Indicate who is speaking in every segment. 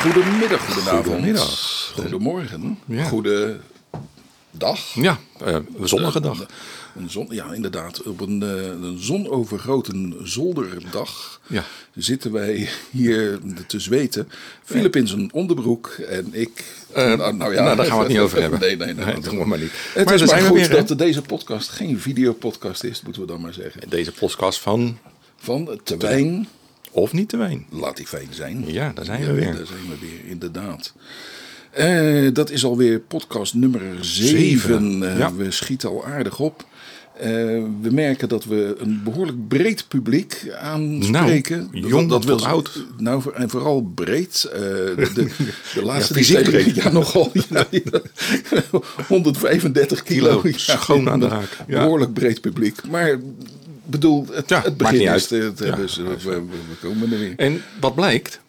Speaker 1: Goedemiddag, goedenavond.
Speaker 2: Goedemiddag.
Speaker 1: Goedemorgen.
Speaker 2: Ja.
Speaker 1: Goede dag.
Speaker 2: Ja, eh, een zonnige dag.
Speaker 1: Een, een zon, ja, inderdaad. Op een, eh, een zonovergroten zolderdag
Speaker 2: Ja.
Speaker 1: zitten wij hier te zweten. Philip in zijn onderbroek en ik.
Speaker 2: Eh, nou, daar gaan we het niet over hebben.
Speaker 1: Nee, nee, nee.
Speaker 2: Nee, dat doen we maar niet.
Speaker 1: Het
Speaker 2: Maar
Speaker 1: is maar
Speaker 2: daar zijn we
Speaker 1: goed
Speaker 2: weer, hè?
Speaker 1: dat deze podcast geen videopodcast is, moeten we dan maar zeggen.
Speaker 2: Deze podcast van
Speaker 1: Van te wijn,
Speaker 2: Of Niet te Wijn.
Speaker 1: laat die fijn zijn.
Speaker 2: Ja, daar zijn we weer.
Speaker 1: Daar zijn we weer, inderdaad. Eh, dat is alweer podcast nummer 7.
Speaker 2: Zeven, ja.
Speaker 1: We schieten al aardig op. Eh, we merken dat we een behoorlijk breed publiek aanspreken.
Speaker 2: Nou, jong tot
Speaker 1: wil-
Speaker 2: oud.
Speaker 1: Nou, voor- en vooral breed. Eh, de, de, de laatste die
Speaker 2: fysiek
Speaker 1: tegen-
Speaker 2: breed.
Speaker 1: Ja, nogal. Ja, ja. 135 kilo.
Speaker 2: Kilo, schoon aan de haak. Ja.
Speaker 1: Behoorlijk breed publiek. Maar bedoel, het,
Speaker 2: Ja,
Speaker 1: het
Speaker 2: maakt
Speaker 1: begin
Speaker 2: niet
Speaker 1: is
Speaker 2: uit.
Speaker 1: te- te-
Speaker 2: Ja.
Speaker 1: dus we, we- we komen er weer.
Speaker 2: En wat blijkt?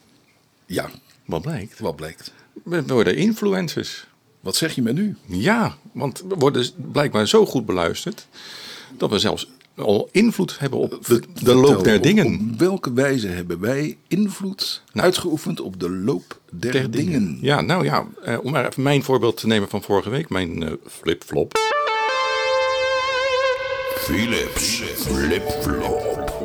Speaker 1: Ja,
Speaker 2: Wat blijkt?
Speaker 1: wat blijkt.
Speaker 2: We worden influencers.
Speaker 1: Wat zeg je me nu?
Speaker 2: Ja, want we worden blijkbaar zo goed beluisterd dat we zelfs al invloed hebben op de, de loop
Speaker 1: Vertel,
Speaker 2: der
Speaker 1: op-
Speaker 2: dingen. Nou.
Speaker 1: Op welke wijze hebben wij invloed uitgeoefend op de loop der,
Speaker 2: Der
Speaker 1: dingen?
Speaker 2: Ja, nou ja, eh, om maar even mijn voorbeeld te nemen van vorige week, mijn eh, flip-flop.
Speaker 1: Philips flipflop.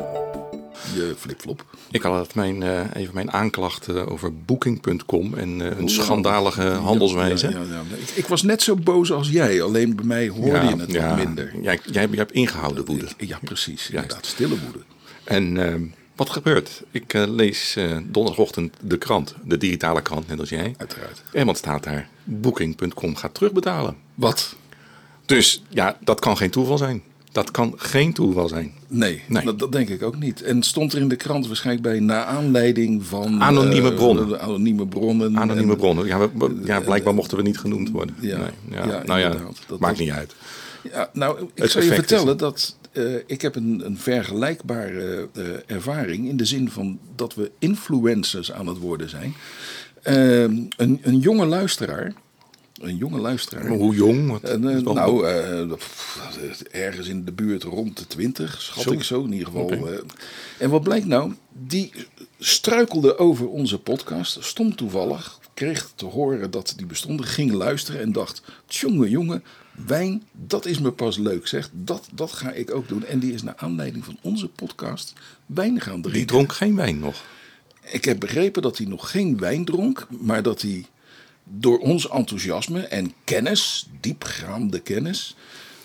Speaker 1: Je flipflop.
Speaker 2: Ik had mijn, eh, even mijn aanklacht eh, over Booking.com en eh, een schandalige handelswijze.
Speaker 1: Ja, ja, ja. Ik, ik was net zo boos als jij, alleen bij mij hoorde je het wat minder.
Speaker 2: Jij, jij, jij hebt ingehouden woede.
Speaker 1: Ja, precies. Inderdaad, stille woede.
Speaker 2: En ehm, wat gebeurt? Ik eh, lees eh, donderdagochtend de krant, de digitale krant, net als jij.
Speaker 1: Uiteraard.
Speaker 2: En wat staat daar? Booking.com gaat terugbetalen.
Speaker 1: Wat?
Speaker 2: Dus ja, dat kan geen toeval zijn. Dat kan geen toeval zijn.
Speaker 1: Nee,
Speaker 2: Nee.
Speaker 1: Dat, dat denk ik ook niet. En stond er in de krant waarschijnlijk bij, naar aanleiding van...
Speaker 2: Anonieme
Speaker 1: eh,
Speaker 2: bronnen.
Speaker 1: Anonieme bronnen.
Speaker 2: Anonieme
Speaker 1: En-
Speaker 2: bronnen. Ja, we- we- ja, blijkbaar mochten we niet genoemd worden.
Speaker 1: Ja,
Speaker 2: Nee, ja,
Speaker 1: ja,
Speaker 2: nou ja,
Speaker 1: inderdaad. Dat
Speaker 2: maakt
Speaker 1: was-
Speaker 2: niet uit.
Speaker 1: Ja, nou, ik
Speaker 2: Het
Speaker 1: zal je
Speaker 2: effect is-
Speaker 1: vertellen dat eh, ik heb een, een vergelijkbare eh, ervaring in de zin van dat we influencers aan het worden zijn. Ehm, een, een jonge luisteraar, een jonge luisteraar.
Speaker 2: Maar hoe jong? Wat-
Speaker 1: En, eh,
Speaker 2: dat is wel-
Speaker 1: nou, eh, pff, ergens in de buurt rond de 20, schat
Speaker 2: Zo.
Speaker 1: ik zo in ieder geval. eh. en wat blijkt nou? Die struikelde over onze podcast, stom toevallig, kreeg te horen dat die bestonden, ging luisteren en dacht: Tjonge, jongen, wijn, dat is me pas leuk, zeg. Dat, dat ga ik ook doen. En die is naar aanleiding van onze podcast wijn gaan
Speaker 2: die
Speaker 1: drinken.
Speaker 2: dronk geen wijn nog.
Speaker 1: Ik heb begrepen dat hij nog geen wijn dronk, maar dat hij door ons enthousiasme en kennis, diepgaande kennis,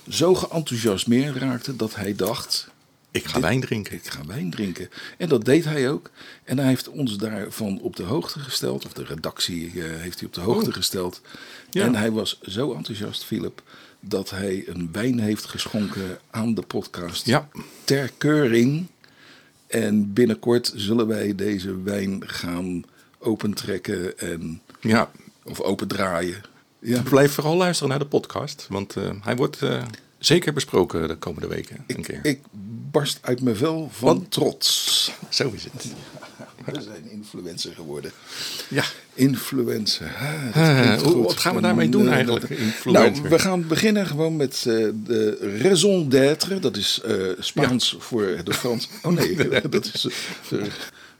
Speaker 1: zo geenthousiasmeerd raakte dat hij dacht:
Speaker 2: Ik ga wijn drinken.
Speaker 1: ik ga wijn drinken. En dat deed hij ook. En hij heeft ons daarvan op de hoogte gesteld, of de redactie eh, heeft hij op de hoogte gesteld.
Speaker 2: Oh. Ja.
Speaker 1: En hij was zo enthousiast, Philip, dat hij een wijn heeft geschonken aan de podcast
Speaker 2: Ja.
Speaker 1: ter keuring. En binnenkort zullen wij deze wijn gaan opentrekken en,
Speaker 2: Ja,
Speaker 1: of opendraaien. Ja.
Speaker 2: Blijf vooral luisteren naar de podcast, want eh, hij wordt eh, zeker besproken de komende weken. Een keer.
Speaker 1: Ik barst uit mijn vel van trots.
Speaker 2: Zo is het.
Speaker 1: We zijn influencer geworden.
Speaker 2: Ja.
Speaker 1: Influencer. Ah, dat
Speaker 2: Eh,
Speaker 1: klinkt
Speaker 2: hoe-
Speaker 1: goed.
Speaker 2: wat gaan we daarmee doen
Speaker 1: Eh,
Speaker 2: eigenlijk,
Speaker 1: dat-
Speaker 2: influencer?
Speaker 1: Nou, we gaan beginnen gewoon met eh, de raison d'être. Dat is eh, Spaans voor de Frans. Oh nee, dat is. eh,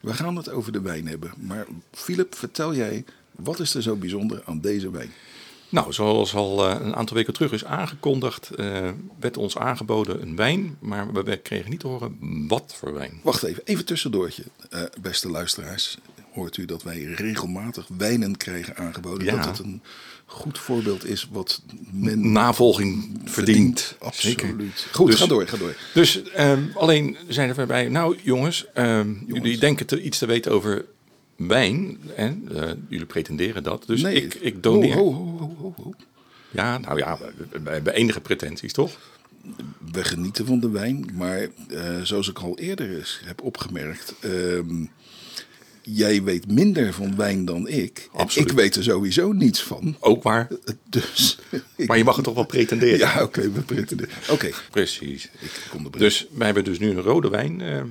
Speaker 1: we gaan het over de wijn hebben. Maar Philip, vertel jij, wat is er zo bijzonder aan deze wijn?
Speaker 2: Nou, zoals al eh, een aantal weken terug is aangekondigd, eh, werd ons aangeboden een wijn, maar we kregen niet te horen wat voor wijn.
Speaker 1: Wacht even, even tussendoortje. Eh, beste luisteraars, hoort u dat wij regelmatig wijnen krijgen aangeboden?
Speaker 2: Ja.
Speaker 1: Dat het een goed voorbeeld is wat men
Speaker 2: Navolging verdient.
Speaker 1: Absoluut.
Speaker 2: Zeker.
Speaker 1: Goed,
Speaker 2: Dus-
Speaker 1: ga door, ga door.
Speaker 2: Dus ehm, alleen zijn er bij, nou jongens, ehm, jullie denken te, iets te weten over wijn. En jullie pretenderen dat. Dus ik, ik doneer.
Speaker 1: Ho, ho, ho, ho, ho.
Speaker 2: Ja, nou ja, we- we- we hebben enige pretenties, toch?
Speaker 1: We genieten van de wijn, maar eh, zoals ik al eerder eens heb opgemerkt... ehm, jij weet minder van wijn dan ik. En
Speaker 2: Absoluut.
Speaker 1: ik weet er sowieso niets van.
Speaker 2: Ook waar.
Speaker 1: Dus... ik-
Speaker 2: Maar je mag het toch wel pretenderen.
Speaker 1: ja, oké, we pretenderen. Oké,
Speaker 2: precies.
Speaker 1: ik kom erbij.
Speaker 2: Dus wij hebben dus nu een rode wijn eh,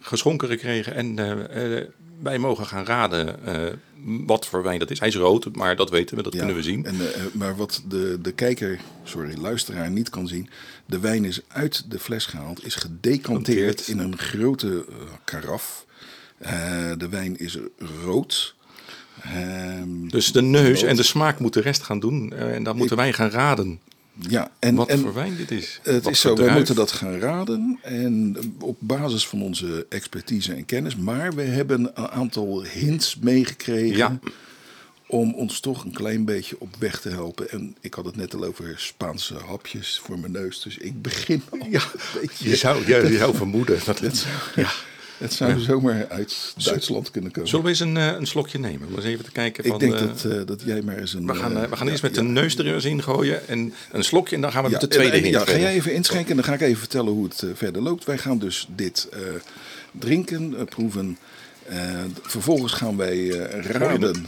Speaker 2: geschonken gekregen. En eh, eh, wij mogen gaan raden eh, wat voor wijn dat is. Hij is rood, maar dat weten we, dat
Speaker 1: Ja,
Speaker 2: kunnen we zien.
Speaker 1: En, eh, maar wat de, de kijker, sorry, luisteraar niet kan zien. De wijn is uit de fles gehaald, is gedecanteerd
Speaker 2: Gedecanteerd.
Speaker 1: in een grote eh, karaf. Eh, de wijn is rood. Ehm,
Speaker 2: Dus de neus
Speaker 1: Rood.
Speaker 2: en de smaak moeten de rest gaan doen. eh, En dan moeten wij gaan raden
Speaker 1: ja, en,
Speaker 2: wat
Speaker 1: en
Speaker 2: voor wijn dit is.
Speaker 1: het
Speaker 2: Wat
Speaker 1: is zo,
Speaker 2: voor
Speaker 1: wij
Speaker 2: druif.
Speaker 1: moeten dat gaan raden. En eh, op basis van onze expertise en kennis. Maar we hebben een aantal hints meegekregen.
Speaker 2: Ja.
Speaker 1: Om ons toch een klein beetje op weg te helpen. En ik had het net al over Spaanse hapjes voor mijn neus. Dus ik begin al
Speaker 2: Ja,
Speaker 1: een beetje.
Speaker 2: je zou, je, je zou vermoeden dat het... Ja.
Speaker 1: Het zou zomaar uit Duitsland kunnen komen.
Speaker 2: Zullen we eens een, eh, een slokje nemen? Om eens even te kijken van...
Speaker 1: ik denk
Speaker 2: eh,
Speaker 1: dat, eh, dat jij maar eens een...
Speaker 2: we gaan, eh, we gaan eerst met
Speaker 1: een.
Speaker 2: de neus er eens in gooien en een slokje en dan gaan we met de
Speaker 1: en-
Speaker 2: tweede
Speaker 1: en-
Speaker 2: hint
Speaker 1: ja, ga
Speaker 2: verder.
Speaker 1: jij even inschenken en dan ga ik even vertellen hoe het eh, verder loopt. Wij gaan dus dit eh, drinken, eh, proeven. Eh, d- vervolgens gaan wij eh, raden.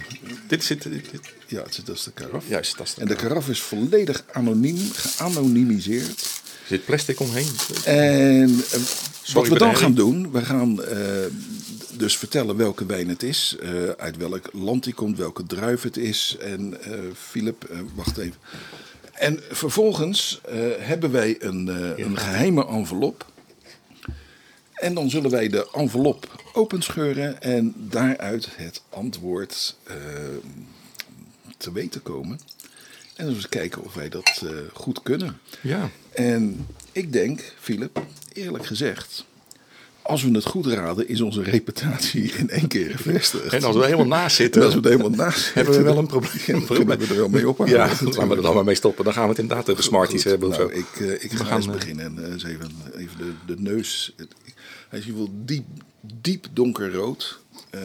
Speaker 2: Dit zit... dit- dit-
Speaker 1: Ja, het is- dat is de karaf.
Speaker 2: Juist, dat is de
Speaker 1: en de karaf is volledig anoniem, geanonimiseerd.
Speaker 2: Er zit plastic omheen.
Speaker 1: En eh, wat we
Speaker 2: voor de
Speaker 1: dan
Speaker 2: herrie.
Speaker 1: gaan doen, we gaan eh, d- dus vertellen welke wijn het is, eh, uit welk land die komt, welke druif het is. En eh Philip, eh, wacht even. En vervolgens eh, hebben wij een, eh, een geheime envelop. En dan zullen wij de envelop openscheuren en daaruit het antwoord eh, te weten komen. En dan eens kijken of wij dat eh, goed kunnen.
Speaker 2: Ja.
Speaker 1: En ik denk, Philip, eerlijk gezegd. Als we het goed raden, is onze reputatie in één keer gevestigd.
Speaker 2: En als we helemaal naast zitten,
Speaker 1: En als we er helemaal naast zitten,
Speaker 2: hebben we wel een probleem.
Speaker 1: dan kunnen we er wel mee ophouden.
Speaker 2: Ja, laten we er dan maar mee stoppen. Dan gaan we het inderdaad over smarties
Speaker 1: Goed,
Speaker 2: hebben of
Speaker 1: nou,
Speaker 2: zo.
Speaker 1: Ik, eh, ik
Speaker 2: We
Speaker 1: ga
Speaker 2: gaan,
Speaker 1: eens
Speaker 2: eh,
Speaker 1: beginnen. En, eh, eens even, even de, de neus. Het- ik- Hij is in ieder geval diep, diep donkerrood. Eh,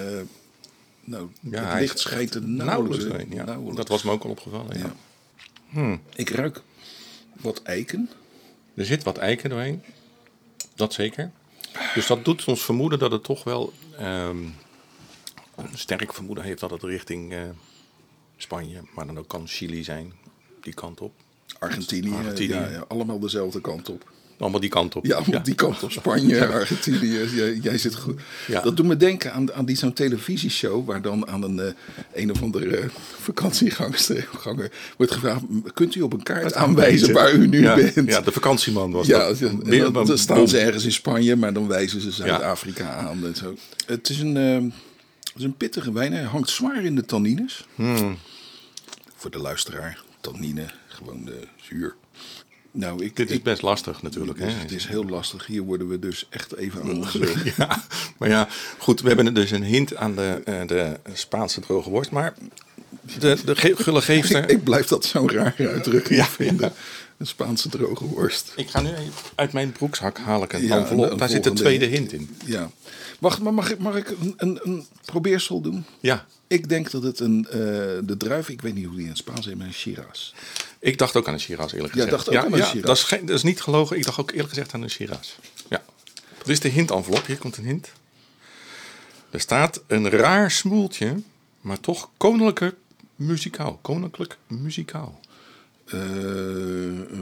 Speaker 1: nou,
Speaker 2: Ja,
Speaker 1: het
Speaker 2: hij
Speaker 1: licht
Speaker 2: is
Speaker 1: schijnt er nauwelijks,
Speaker 2: Nauwelijks. doorheen,
Speaker 1: in.
Speaker 2: ja.
Speaker 1: Nauwelijks.
Speaker 2: Dat was me ook al opgevallen. Ja.
Speaker 1: Ja. Ik ruik wat eiken.
Speaker 2: Er zit wat eiken doorheen. Dat zeker. Dus dat doet ons vermoeden dat het toch wel ehm, een sterk vermoeden heeft dat het richting eh, Spanje, maar dan ook kan Chili zijn. Die kant op.
Speaker 1: Argentinië.
Speaker 2: Argentinië.
Speaker 1: Ja, ja, allemaal dezelfde kant op.
Speaker 2: Allemaal die kant op.
Speaker 1: Ja, op die kant op Spanje, Argentinië. Jij, jij zit goed.
Speaker 2: Ja.
Speaker 1: Dat doet me denken aan, aan die zo'n televisieshow waar dan aan een, eh, een of andere eh, vakantiegangster ganger wordt gevraagd: "M- kunt u op een kaart aanwijzen waar u nu
Speaker 2: ja,
Speaker 1: bent?
Speaker 2: Ja, de vakantieman was
Speaker 1: Ja,
Speaker 2: dat.
Speaker 1: ja, en
Speaker 2: Weer
Speaker 1: dan,
Speaker 2: een
Speaker 1: dan staan
Speaker 2: bom.
Speaker 1: ze ergens in Spanje, maar dan wijzen ze Zuid-Afrika aan en zo. Het is een, eh, het is een pittige wijn. Hij hangt zwaar in de tannines.
Speaker 2: Hmm.
Speaker 1: Voor de luisteraar, tannine, gewoon de zuur. Nou, ik,
Speaker 2: Dit is
Speaker 1: ik-
Speaker 2: best lastig natuurlijk.
Speaker 1: dus
Speaker 2: hè.
Speaker 1: het is heel lastig. Hier worden we dus echt even aan onze...
Speaker 2: Ja, maar ja, goed, we hebben dus een hint aan de, eh, de Spaanse droge worst. Maar de, de ge- gulle geefster...
Speaker 1: Ik blijf dat zo'n rare uitdrukking
Speaker 2: Ja,
Speaker 1: vinden.
Speaker 2: ja.
Speaker 1: Een Spaanse droge worst.
Speaker 2: Ik ga nu even- uit mijn broekzak haal ik een
Speaker 1: Ja,
Speaker 2: envelop.
Speaker 1: een
Speaker 2: Daar zit de
Speaker 1: volgende
Speaker 2: tweede hint in.
Speaker 1: Ja. Wacht, maar mag ik, mag ik een, een, een probeersel doen?
Speaker 2: Ja,
Speaker 1: Ik denk dat het een... eh, de druif, ik weet niet hoe die in het Spaans heet, maar een Shiraz.
Speaker 2: ik dacht ook aan een Shiraz eerlijk
Speaker 1: Ja,
Speaker 2: gezegd.
Speaker 1: dacht ook aan een Shiraz.
Speaker 2: Dat is, geen- dat is niet gelogen. Ik dacht ook eerlijk gezegd aan een Shiraz. Ja. Dit is de hint-envelop. Hier komt een hint. Er staat een raar smoeltje, maar toch koninklijke muzikaal. Koninklijk muzikaal.
Speaker 1: Eh, eh,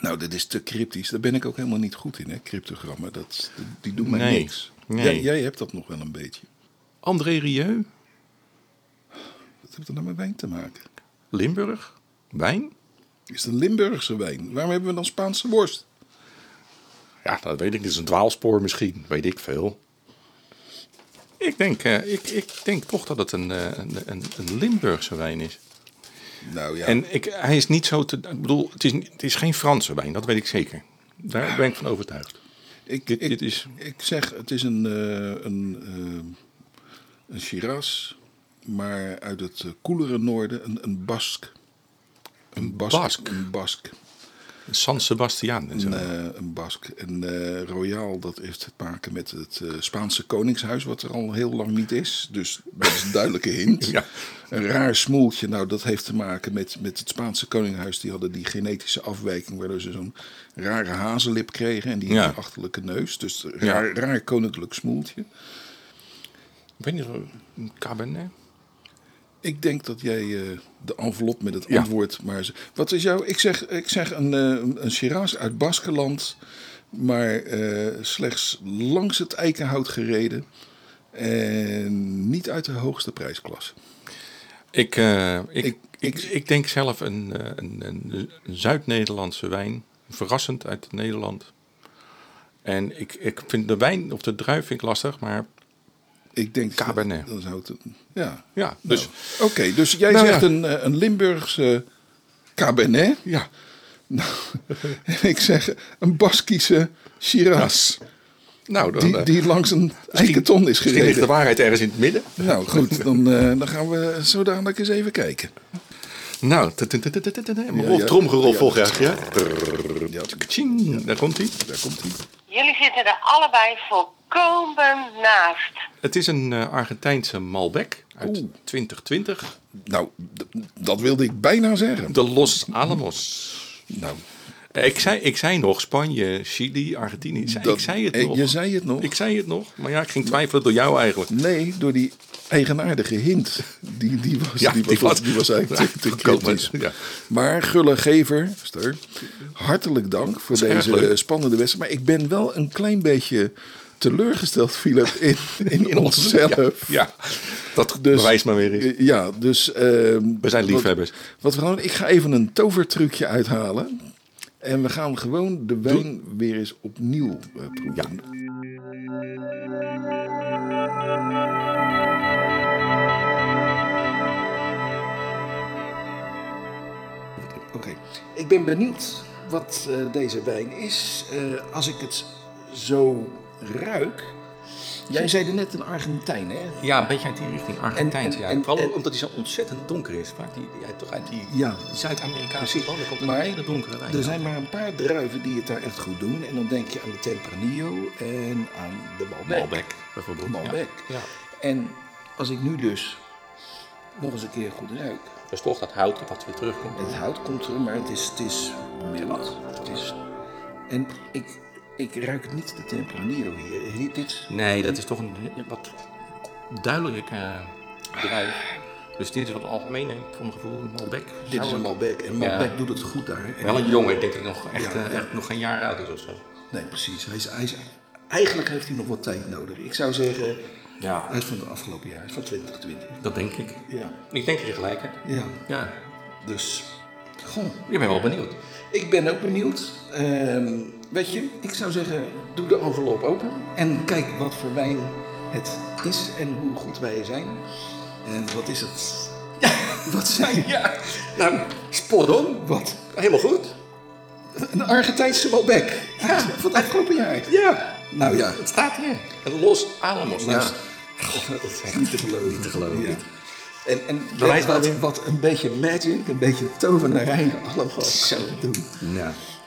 Speaker 1: nou, dit is te cryptisch. Daar ben ik ook helemaal niet goed in, hè? Cryptogrammen, dat, die doen mij
Speaker 2: Nee.
Speaker 1: niks.
Speaker 2: Nee.
Speaker 1: Jij, jij hebt dat nog wel een beetje.
Speaker 2: André Rieu,
Speaker 1: Wat heeft dat nou met wijn te maken?
Speaker 2: Limburg, wijn.
Speaker 1: Is het een Limburgse wijn? Waarom hebben we dan Spaanse worst?
Speaker 2: Ja, dat weet ik. Dit is een dwaalspoor misschien. Weet ik veel. Ik denk, eh, ik, ik denk toch dat het een, eh, een, een, een Limburgse wijn is.
Speaker 1: Nou ja,
Speaker 2: En ik, hij is niet zo te... Ik bedoel, het is, niet- het is geen Franse wijn. Dat weet ik zeker. Daar ben ik van overtuigd.
Speaker 1: ik,
Speaker 2: dit-
Speaker 1: ik,
Speaker 2: dit is-
Speaker 1: ik zeg, het is een, eh, een, eh, een Shiraz, maar uit het eh, koelere noorden, een, een Bask. Een Bask.
Speaker 2: Bask?
Speaker 1: Een Bask.
Speaker 2: San Sebastian en zo.
Speaker 1: Een, eh, een Bask. En eh, Royal, dat heeft te maken met het eh, Spaanse Koningshuis, wat er al heel lang niet is. Dus dat is een duidelijke hint.
Speaker 2: Ja.
Speaker 1: Een raar smoeltje, nou dat heeft te maken met, met het Spaanse Koningshuis. Die hadden die genetische afwijking, waardoor ze zo'n rare hazenlip kregen en die
Speaker 2: Ja.
Speaker 1: achterlijke neus. Dus een raar, raar koninklijk smoeltje.
Speaker 2: Ik weet niet, een cabernet?
Speaker 1: Ik denk dat jij eh, de envelop met het
Speaker 2: Ja.
Speaker 1: antwoord maar... z- Wat is jouw... Ik zeg, ik zeg een, eh, een Shiraz uit Baskeland, maar eh, slechts langs het eikenhout gereden. En niet uit de hoogste prijsklasse.
Speaker 2: Ik, eh, ik, ik,
Speaker 1: Ik-
Speaker 2: ik, denk zelf een, eh, een, een, een Zuid-Nederlandse wijn. Verrassend uit Nederland. En ik, ik vind de wijn of de druif vind ik lastig, maar
Speaker 1: Ik denk dat-
Speaker 2: Cabernet.
Speaker 1: Dat zou het, ja.
Speaker 2: Ja, dus
Speaker 1: Oké, dus jij
Speaker 2: Nou
Speaker 1: zegt
Speaker 2: ja.
Speaker 1: een, eh, een Limburgse Cabernet.
Speaker 2: ja,
Speaker 1: Nou, en ik zeg een Baskische Shiraz.
Speaker 2: nou, dan,
Speaker 1: Die,
Speaker 2: eh,
Speaker 1: die langs een eiketon is
Speaker 2: misschien ligt de
Speaker 1: gereden.
Speaker 2: waarheid ergens in het midden.
Speaker 1: Nou goed, dan, eh, dan gaan we zo dadelijk eens even kijken.
Speaker 2: Nou, tut, tut, tut, tut, tut, tut, maar
Speaker 1: ja.
Speaker 2: Rolf Tromgeroffel
Speaker 1: Ja.
Speaker 2: graag, ja?
Speaker 1: Ja,
Speaker 2: Tjing, daar komt hij.
Speaker 1: daar komt hij.
Speaker 3: Jullie zitten er allebei volkomen naast.
Speaker 2: Het is een eh, Argentijnse Malbec uit
Speaker 1: Oeh.
Speaker 2: 2020.
Speaker 1: Nou, d- dat wilde ik bijna zeggen.
Speaker 2: De Los Alamos.
Speaker 1: Nou,
Speaker 2: Eh, Ik zei, ik zei nog Spanje, Chili, Argentinië. Ik zei-
Speaker 1: Dat-
Speaker 2: ik zei het
Speaker 1: eh,
Speaker 2: nog.
Speaker 1: je zei het nog.
Speaker 2: Ik zei het nog, maar ja, ik ging twijfelen door jou eigenlijk.
Speaker 1: nee, door die eigenaardige hint. Die, die, was,
Speaker 2: Ja,
Speaker 1: die, was,
Speaker 2: die was-
Speaker 1: die was eigenlijk te, te
Speaker 2: Gekomen,
Speaker 1: kritisch.
Speaker 2: ja.
Speaker 1: Maar gullegever, Ster, hartelijk dank voor
Speaker 2: erg
Speaker 1: deze
Speaker 2: leuk.
Speaker 1: eh, spannende wedstrijd. Maar ik ben wel een klein beetje teleurgesteld, Philip, in, in, onszelf.
Speaker 2: Ja, ja. dat
Speaker 1: Dus-
Speaker 2: bewijst maar weer eens.
Speaker 1: Eh, Ja, dus... ehm,
Speaker 2: We zijn
Speaker 1: wat-
Speaker 2: liefhebbers.
Speaker 1: Wat we gaan doen, ik ga even een tovertrucje uithalen. En we gaan gewoon de wijn weer eens opnieuw eh, proeven. Oké, ik ben benieuwd wat eh, deze wijn is. eh, als ik het zo ruik. Jij zei net een Argentijn, hè?
Speaker 2: Ja, een beetje uit die richting Argentijns.
Speaker 1: En-
Speaker 2: ja.
Speaker 1: en- en-
Speaker 2: Vooral
Speaker 1: en-
Speaker 2: omdat hij zo ontzettend donker is. Vaak die, ja, toch uit die
Speaker 1: Ja.
Speaker 2: Zuid-Amerikaanse landen komt een
Speaker 1: Maar
Speaker 2: hele donkere wijn.
Speaker 1: er zijn maar een paar druiven die het daar echt goed doen. En dan denk je aan de Tempranillo en aan de Malbec.
Speaker 2: Malbec bijvoorbeeld.
Speaker 1: Malbec.
Speaker 2: Ja. Ja.
Speaker 1: En als ik nu dus nog eens een keer goed ruik.
Speaker 2: Dus toch dat hout wat weer terugkomt.
Speaker 1: Het hout komt er, maar het is, het is mild. Het is, en ik, ik ruik niet de Tempranillo hier. Hier, Dit,
Speaker 2: Nee, dat is toch een wat duidelijke eh, bedrijf. Dus dit is wat algemeen, hè, voor mijn gevoel, Malbec.
Speaker 1: dit is een Malbec. En Malbec doet het goed daar. En-
Speaker 2: Wel een jongen, ik denk dat hij nog, echt,
Speaker 1: Ja,
Speaker 2: eh, echt nog geen jaar oud is of zo.
Speaker 1: Nee, precies. Hij is, hij is- eigenlijk heeft hij nog wat tijd nodig. Ik zou zeggen,
Speaker 2: Ja.
Speaker 1: hij is van het afgelopen jaar. Hij is van 2020.
Speaker 2: Dat denk ik.
Speaker 1: Ja.
Speaker 2: Ik denk dat je gelijk hebt.
Speaker 1: Ja.
Speaker 2: Ja,
Speaker 1: Dus, goh.
Speaker 2: ik ben wel benieuwd.
Speaker 1: Ik ben ook benieuwd. Ehm, weet je, ik zou zeggen, doe de envelop open en kijk wat voor wijn het is en hoe goed wij er zijn. En wat is het? wat zijn
Speaker 2: Ja, nou, spot on.
Speaker 1: Wat?
Speaker 2: Helemaal goed.
Speaker 1: Een Argentijnse Malbec. Ja, van het afgelopen jaar.
Speaker 2: Ja.
Speaker 1: Nou ja.
Speaker 2: Het staat hier. Het Los Alamos.
Speaker 1: Ja.
Speaker 2: Dus
Speaker 1: God, dat is niet te geloven. Niet te geloven. En, en
Speaker 2: Bewijs maar
Speaker 1: wat,
Speaker 2: weer.
Speaker 1: wat een beetje magic, een beetje tovenarij allemaal zo doen.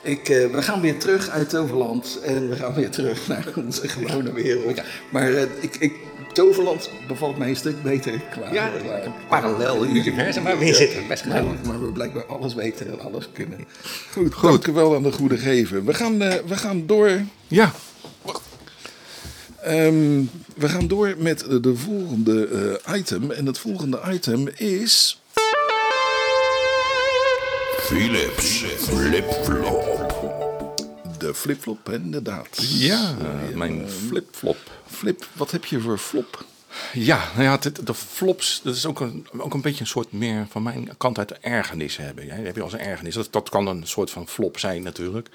Speaker 1: Ik, eh, we gaan weer terug uit Toverland en we gaan weer terug naar onze gewone wereld. Maar eh, ik, ik, Toverland bevalt mij een stuk beter qua.
Speaker 2: Ja,
Speaker 1: qua-
Speaker 2: een parallel universum waar we in zitten. Best
Speaker 1: maar,
Speaker 2: wel.
Speaker 1: maar we blijkbaar alles weten en alles kunnen. Goed, dank u wel aan de goede geven. We gaan, eh, we gaan door
Speaker 2: Ja.
Speaker 1: Ehm, we gaan door met de, de volgende eh, item. En het volgende item is.
Speaker 4: Philips flip-flop.
Speaker 1: De flipflop, inderdaad.
Speaker 2: Ja, Eh, mijn flip-flop.
Speaker 1: Flip, wat heb je voor flop?
Speaker 2: Ja, nou ja, het- de flops, dat is ook een, ook een beetje een soort meer van mijn kant uit ergernis hebben. Ja, dat heb je als een ergernis. Dat, dat kan een soort van flop zijn natuurlijk.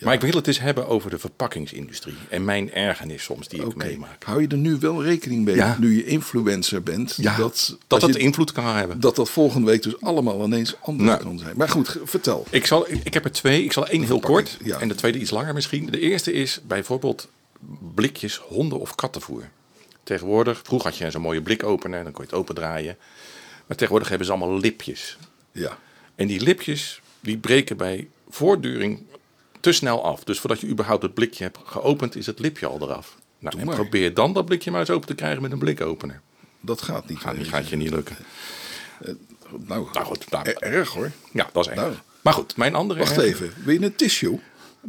Speaker 2: Maar ik wil het eens hebben over de verpakkingsindustrie en mijn ergernis soms die ik
Speaker 1: Oké,
Speaker 2: meemaak.
Speaker 1: Hou je er nu wel rekening mee,
Speaker 2: Ja.
Speaker 1: nu je influencer bent, dat
Speaker 2: dat
Speaker 1: als
Speaker 2: dat,
Speaker 1: je-
Speaker 2: het invloed kan hebben.
Speaker 1: dat dat volgende week dus allemaal ineens anders
Speaker 2: Nou.
Speaker 1: kan zijn. Maar goed, ge- vertel.
Speaker 2: Ik, zal, ik ik heb er twee. Ik zal één heel kort
Speaker 1: ja.
Speaker 2: en de tweede iets langer misschien. De eerste is bijvoorbeeld blikjes honden- of kattenvoer. Tegenwoordig, vroeger had je zo'n mooie blikopener en dan kon je het opendraaien. Maar tegenwoordig hebben ze allemaal lipjes.
Speaker 1: Ja.
Speaker 2: En die lipjes die breken bij voortduring te snel af. Dus voordat je überhaupt het blikje hebt geopend, is het lipje al eraf. Nou,
Speaker 1: Doe
Speaker 2: en
Speaker 1: maar.
Speaker 2: probeer dan dat blikje maar eens open te krijgen met een blikopener.
Speaker 1: Dat gaat niet.
Speaker 2: Gaat,
Speaker 1: eh,
Speaker 2: niet- gaat je niet lukken.
Speaker 1: Nou,
Speaker 2: Nou goed, nou,
Speaker 1: er- erg hoor.
Speaker 2: ja, dat is
Speaker 1: Nou.
Speaker 2: erg. Maar goed, mijn andere...
Speaker 1: Wacht even, wil je een tissue?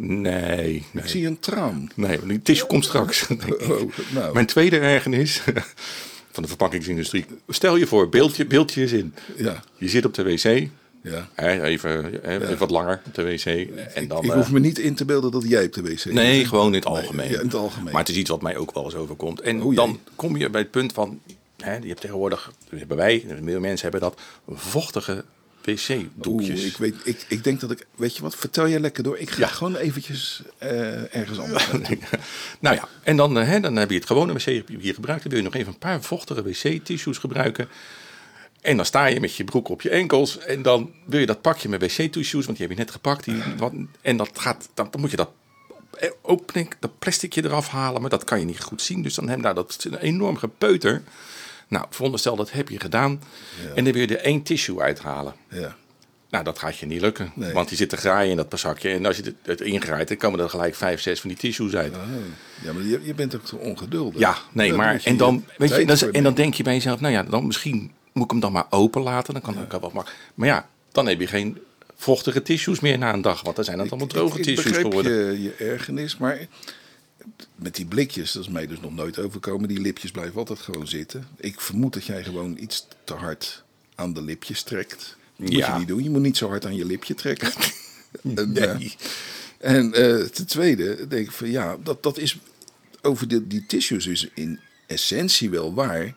Speaker 2: Nee, nee.
Speaker 1: Ik zie een traan.
Speaker 2: Nee, die tissue komt straks. denk ik.
Speaker 1: Oh, nou.
Speaker 2: Mijn tweede ergernis van de verpakkingsindustrie. Stel je voor, beeldje, beeldje is in.
Speaker 1: Ja.
Speaker 2: Je zit op de wc.
Speaker 1: Ja.
Speaker 2: Hè, Even, hè, even wat langer op de wc. En dan,
Speaker 1: ik
Speaker 2: eh,
Speaker 1: hoef me niet in te beelden dat jij op de wc
Speaker 2: Nee, gewoon in het algemeen.
Speaker 1: ja, in het algemeen. Oh,
Speaker 2: Maar het is iets wat mij ook wel eens overkomt. En
Speaker 1: jee.
Speaker 2: dan kom dus je bij het punt van... Hè, je hebt tegenwoordig, dat hebben wij, veel mensen hebben dat... vochtige
Speaker 1: Oeh,
Speaker 2: wc-doekjes.
Speaker 1: ik, weet, ik, ik denk dat ik... Weet je wat, vertel jij lekker door. Ik ga
Speaker 2: Ja.
Speaker 1: gewoon eventjes eh, ergens anders.
Speaker 2: nou ja, en dan, eh, hè, dan heb je het gewone wc-papier gebruikt. Dan wil je nog even een paar vochtige wc-tissues gebruiken. En dan sta je met je broek op je enkels. En dan wil je dat pakje met wc-tissues, want die heb je net gepakt. Die, wat, en dat gaat, dan, dan moet je dat eh, opening, dat plasticje eraf halen. Maar dat kan je niet goed zien. Dus dan heb je daar dat een enorm gepeuter. Nou, veronderstel dat heb je gedaan. En dan wil je er één tissue uithalen.
Speaker 1: Ja.
Speaker 2: Nou, dat gaat je niet lukken.
Speaker 1: Nee.
Speaker 2: Want die zit te graaien in dat pasakje. En als je het- het ingraait, dan komen er gelijk vijf, zes van die tissues uit.
Speaker 1: Oh. ja, maar je, je bent ook zo ongeduldig.
Speaker 2: Ja, nee,
Speaker 1: Dan
Speaker 2: maar
Speaker 1: moet je
Speaker 2: en dan, weet je,
Speaker 1: tijd
Speaker 2: dan, is-
Speaker 1: voor
Speaker 2: en dan
Speaker 1: nemen.
Speaker 2: denk je bij jezelf, nou ja, dan misschien moet ik hem dan maar open laten. Dan kan ik wel mak- Maar ja, dan heb je geen vochtige tissues meer na een dag. Want dan zijn dat allemaal droge
Speaker 1: ik, ik
Speaker 2: tissues
Speaker 1: begreep
Speaker 2: geworden.
Speaker 1: Je, je ergernis, maar met die blikjes, dat is mij dus nog nooit overkomen. Die lipjes blijven altijd gewoon zitten. Ik vermoed dat jij gewoon iets te hard aan de lipjes trekt. Dat moet
Speaker 2: Ja.
Speaker 1: je niet doen. Je moet niet zo hard aan je lipje trekken. En, eh, en eh, ten tweede denk ik van ja, dat, dat is over de, die tissues is in essentie wel waar.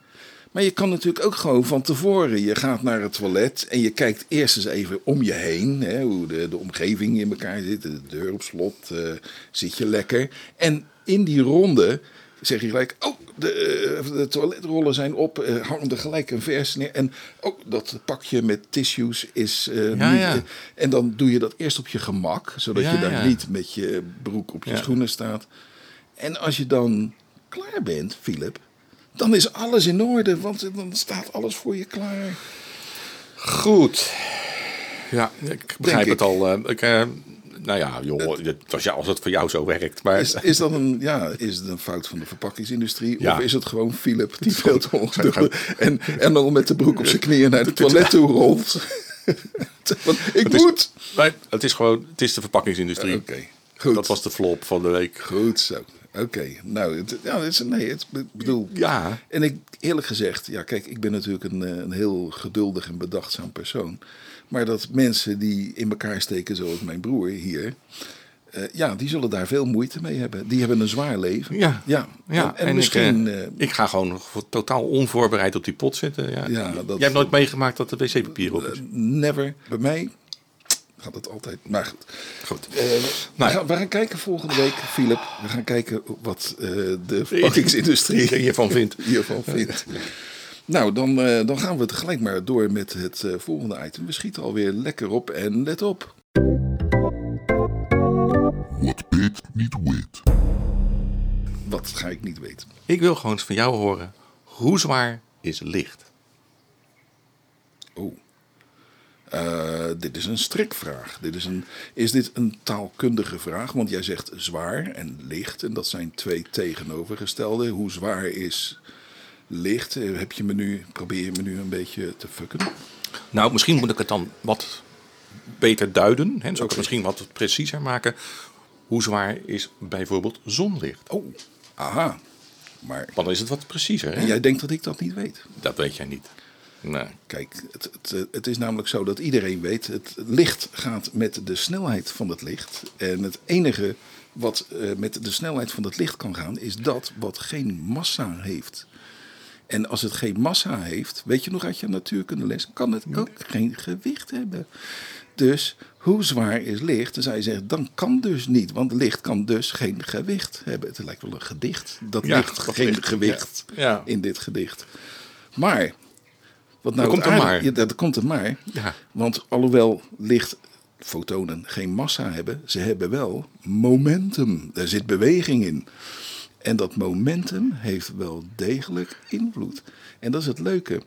Speaker 1: Maar je kan natuurlijk ook gewoon van tevoren. Je gaat naar het toilet en je kijkt eerst eens even om je heen. Hè, hoe de, de omgeving in elkaar zit. De deur op slot. eh, zit je lekker. En in die ronde zeg je gelijk... Oh, de, eh, de toiletrollen zijn op. eh, hang er gelijk een vers neer. En oh, dat pakje met tissues is eh,
Speaker 2: Ja,
Speaker 1: niet...
Speaker 2: ja.
Speaker 1: eh, en dan doe je dat eerst op je gemak. Zodat
Speaker 2: Ja,
Speaker 1: je daar
Speaker 2: ja.
Speaker 1: niet met je broek op je
Speaker 2: Ja.
Speaker 1: schoenen staat. En als je dan klaar bent, Philip, dan is alles in orde, want dan staat alles voor je klaar.
Speaker 2: Goed. Ja, ik begrijp
Speaker 1: ik.
Speaker 2: het al. eh, Ik, eh, nou ja, joh, dit- als, ja, als het voor jou zo werkt. Maar
Speaker 1: Is, is, dat een, ja, is het een fout van de verpakkingsindustrie?
Speaker 2: Ja.
Speaker 1: Of is het gewoon Philip die veel te ongeduldig en, en dan met de broek op zijn knieën naar het toilet toe rolt? Want ik
Speaker 2: is-
Speaker 1: moet!
Speaker 2: Nee, het is gewoon, het is de verpakkingsindustrie.
Speaker 1: Oké, goed.
Speaker 2: Dat was de flop van de week.
Speaker 1: Goed zo. Oké, nou, het, ja, het is, nee, het, ik bedoel...
Speaker 2: Ja.
Speaker 1: En ik, eerlijk gezegd, ja, kijk, ik ben natuurlijk een, eh, een heel geduldig en bedachtzaam persoon. Maar dat mensen die in elkaar steken, zoals mijn broer hier... eh, ja, die zullen daar veel moeite mee hebben. Die hebben een zwaar leven.
Speaker 2: Ja,
Speaker 1: ja.
Speaker 2: Ja,
Speaker 1: en, en misschien...
Speaker 2: Ik, eh,
Speaker 1: eh,
Speaker 2: ik ga gewoon voor- totaal onvoorbereid op die pot zitten. Ja.
Speaker 1: Ja, dat- Eh,
Speaker 2: Jij hebt nooit meegemaakt dat de wc-papier op is.
Speaker 1: never. Bij mij gaat het altijd. Maar goed.
Speaker 2: Goed.
Speaker 1: Eh,
Speaker 2: Nou
Speaker 1: we,
Speaker 2: ja.
Speaker 1: gaan, we gaan kijken volgende week, Philip. We gaan kijken wat eh, de verpakkingsindustrie
Speaker 2: hiervan vindt.
Speaker 1: hiervan vindt. Nou, dan, eh, dan gaan we het gelijk maar door met het eh, volgende item. We schieten alweer lekker op en let op.
Speaker 4: Wat Pit niet weet.
Speaker 1: Wat ga ik niet weten.
Speaker 2: Ik wil gewoon eens van jou horen. Hoe zwaar is licht?
Speaker 1: Oh. Eh, dit is een strikvraag. Dit is, een, is dit een taalkundige vraag? Want jij zegt zwaar en licht. En dat zijn twee tegenovergestelde. Hoe zwaar is licht? Eh, Heb je me nu, probeer je me nu een beetje te fucken?
Speaker 2: Nou, misschien moet ik het dan wat beter duiden. Hè? Zou ik
Speaker 1: Oké.
Speaker 2: het misschien wat preciezer maken. Hoe zwaar is bijvoorbeeld zonlicht?
Speaker 1: Oh, aha. Maar
Speaker 2: Want dan is het wat preciezer. Hè?
Speaker 1: en jij denkt dat ik dat niet weet.
Speaker 2: Dat weet jij niet. Nee.
Speaker 1: Kijk, het, het, eh, het is namelijk zo dat iedereen weet: het licht gaat met de snelheid van het licht. En het enige wat eh, met de snelheid van het licht kan gaan, is dat wat geen massa heeft. En als het geen massa heeft, weet je nog uit je natuurkundeles, kan het ook geen gewicht hebben. Dus hoe zwaar is licht? En zij zegt, dan kan dus niet, want licht kan dus geen gewicht hebben. Het lijkt wel een gedicht. Dat
Speaker 2: Ja,
Speaker 1: licht
Speaker 2: dat
Speaker 1: geen
Speaker 2: licht,
Speaker 1: gewicht
Speaker 2: ja. Ja.
Speaker 1: in dit gedicht. Maar wat nou
Speaker 2: Er komt
Speaker 1: het
Speaker 2: een
Speaker 1: aardige-
Speaker 2: maar.
Speaker 1: Ja, dat komt een maar.
Speaker 2: Ja.
Speaker 1: Want alhoewel licht fotonen geen massa hebben, ze hebben wel momentum. Er zit beweging in. En dat momentum heeft wel degelijk invloed. En dat is het leuke.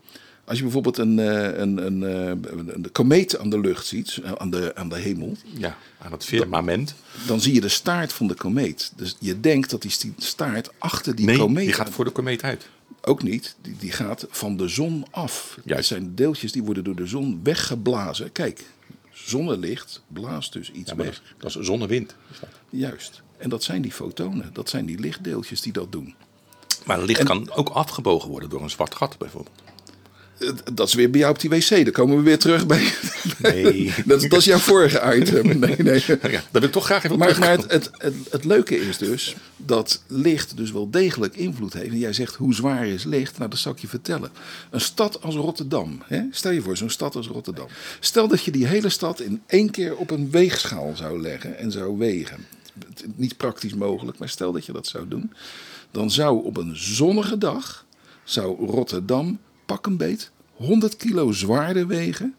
Speaker 1: Als je bijvoorbeeld een, eh, een, een, eh, een, een komeet aan de lucht ziet, eh, aan de, aan de hemel,
Speaker 2: Ja, aan het firmament.
Speaker 1: dan zie je de staart van de komeet. Dus je denkt dat die sti- staart achter die
Speaker 2: Nee,
Speaker 1: komeet
Speaker 2: die gaat voor de komeet uit.
Speaker 1: ook niet. Die, die gaat van de zon af. Dat
Speaker 2: Juist.
Speaker 1: zijn deeltjes die worden door de zon weggeblazen. Kijk, zonnelicht blaast dus iets
Speaker 2: Ja, maar dat,
Speaker 1: weg.
Speaker 2: is, dat is zonnewind.
Speaker 1: Juist. En dat zijn die fotonen. Dat zijn die lichtdeeltjes die dat doen.
Speaker 2: Maar licht kan ook afgebogen worden door een zwart gat bijvoorbeeld.
Speaker 1: Eh, Dat is weer bij jou op die wc. Dan komen we weer terug bij.
Speaker 2: Nee.
Speaker 1: dat, dat is jouw vorige item. Nee, nee.
Speaker 2: Ja, daar wil ik toch graag even op
Speaker 1: Maar, maar
Speaker 2: terugkomen.
Speaker 1: het, het, het, het leuke is dus dat licht dus wel degelijk invloed heeft. En jij zegt hoe zwaar is licht? Nou, dat zal ik je vertellen. Een stad als Rotterdam. Hè? Stel je voor, zo'n stad als Rotterdam. Stel dat je die hele stad in één keer op een weegschaal zou leggen en zou wegen. Het- Niet praktisch mogelijk, maar stel dat je dat zou doen. Dan zou op een zonnige dag zou Rotterdam pak een beet 100 kilo zwaarder wegen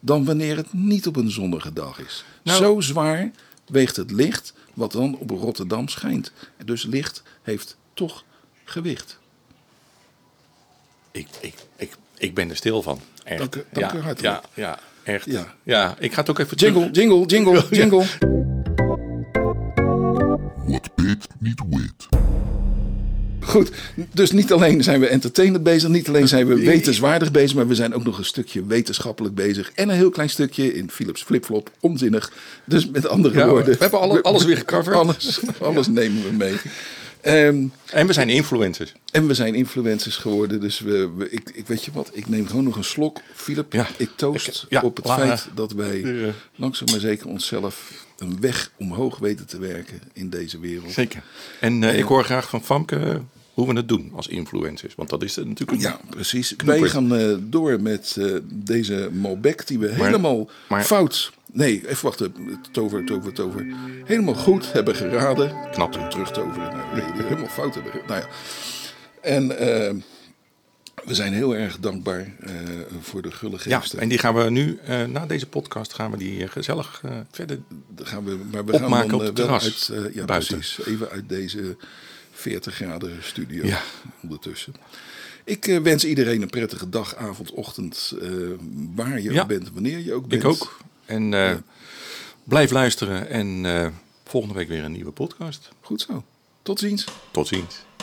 Speaker 1: dan wanneer het niet op een zonnige dag is.
Speaker 2: Nou-
Speaker 1: Zo zwaar weegt het licht wat dan op Rotterdam schijnt. En Dus licht heeft toch gewicht.
Speaker 2: Ik, ik, ik, ik ben er stil van. Echt.
Speaker 1: Dank u- dank
Speaker 2: ja,
Speaker 1: u
Speaker 2: ja,
Speaker 1: hartelijk.
Speaker 2: ja, echt.
Speaker 1: Ja.
Speaker 2: Ja. ik ga het ook even
Speaker 1: Jingle,
Speaker 2: terug-
Speaker 1: jingle, jingle, jingle.
Speaker 4: What Pit niet weet.
Speaker 1: Goed, dus niet alleen zijn we entertainend bezig, niet alleen zijn we wetenswaardig bezig, maar we zijn ook nog een stukje wetenschappelijk bezig. En een heel klein stukje in Philips flipflop, onzinnig. Dus met andere
Speaker 2: Ja,
Speaker 1: woorden.
Speaker 2: we hebben alle- alles weer gecoverd.
Speaker 1: Alles, alles nemen we mee. Ehm,
Speaker 2: En we zijn influencers.
Speaker 1: En we zijn influencers geworden, dus we, we- ik, ik weet je wat, ik neem gewoon nog een slok. Philip,
Speaker 2: Ja.
Speaker 1: ik toast
Speaker 2: Ik- ja,
Speaker 1: op het
Speaker 2: la-
Speaker 1: feit dat wij
Speaker 2: Ja.
Speaker 1: langzaam maar zeker onszelf een weg omhoog weten te werken in deze wereld.
Speaker 2: Zeker. En eh, ik hoor graag van Famke eh, hoe we het doen als influencers. Want dat is natuurlijk een-
Speaker 1: Ja, precies. Wij
Speaker 2: Knoeper.
Speaker 1: gaan eh, door met eh, deze Malbec die we helemaal
Speaker 2: maar-
Speaker 1: fout... Nee, even wachten. Tover, tover, tover. Helemaal goed hebben geraden.
Speaker 2: Knap, hè?
Speaker 1: Terug terugtoveren. Nou, nee, die helemaal fout hebben ge- Nou ja. En eh, we zijn heel erg dankbaar eh, voor de gulle
Speaker 2: Ja,
Speaker 1: geesten.
Speaker 2: en die gaan we nu, eh, na deze podcast, gaan we die eh, gezellig eh, verder.
Speaker 1: Dan gaan we, maar we gaan
Speaker 2: Opmaken
Speaker 1: dan
Speaker 2: op
Speaker 1: eh,
Speaker 2: het
Speaker 1: wel uit,
Speaker 2: terras,
Speaker 1: eh, ja,
Speaker 2: buiten.
Speaker 1: precies, even uit deze 40 graden studio
Speaker 2: Ja.
Speaker 1: ondertussen. Ik eh, wens iedereen een prettige dag, avond, ochtend, eh, waar je
Speaker 2: Ja.
Speaker 1: ook bent, wanneer je ook bent.
Speaker 2: Ik ook. En eh, blijf luisteren. En eh, volgende week weer een nieuwe podcast.
Speaker 1: Goed zo. Tot ziens.
Speaker 2: Tot ziens.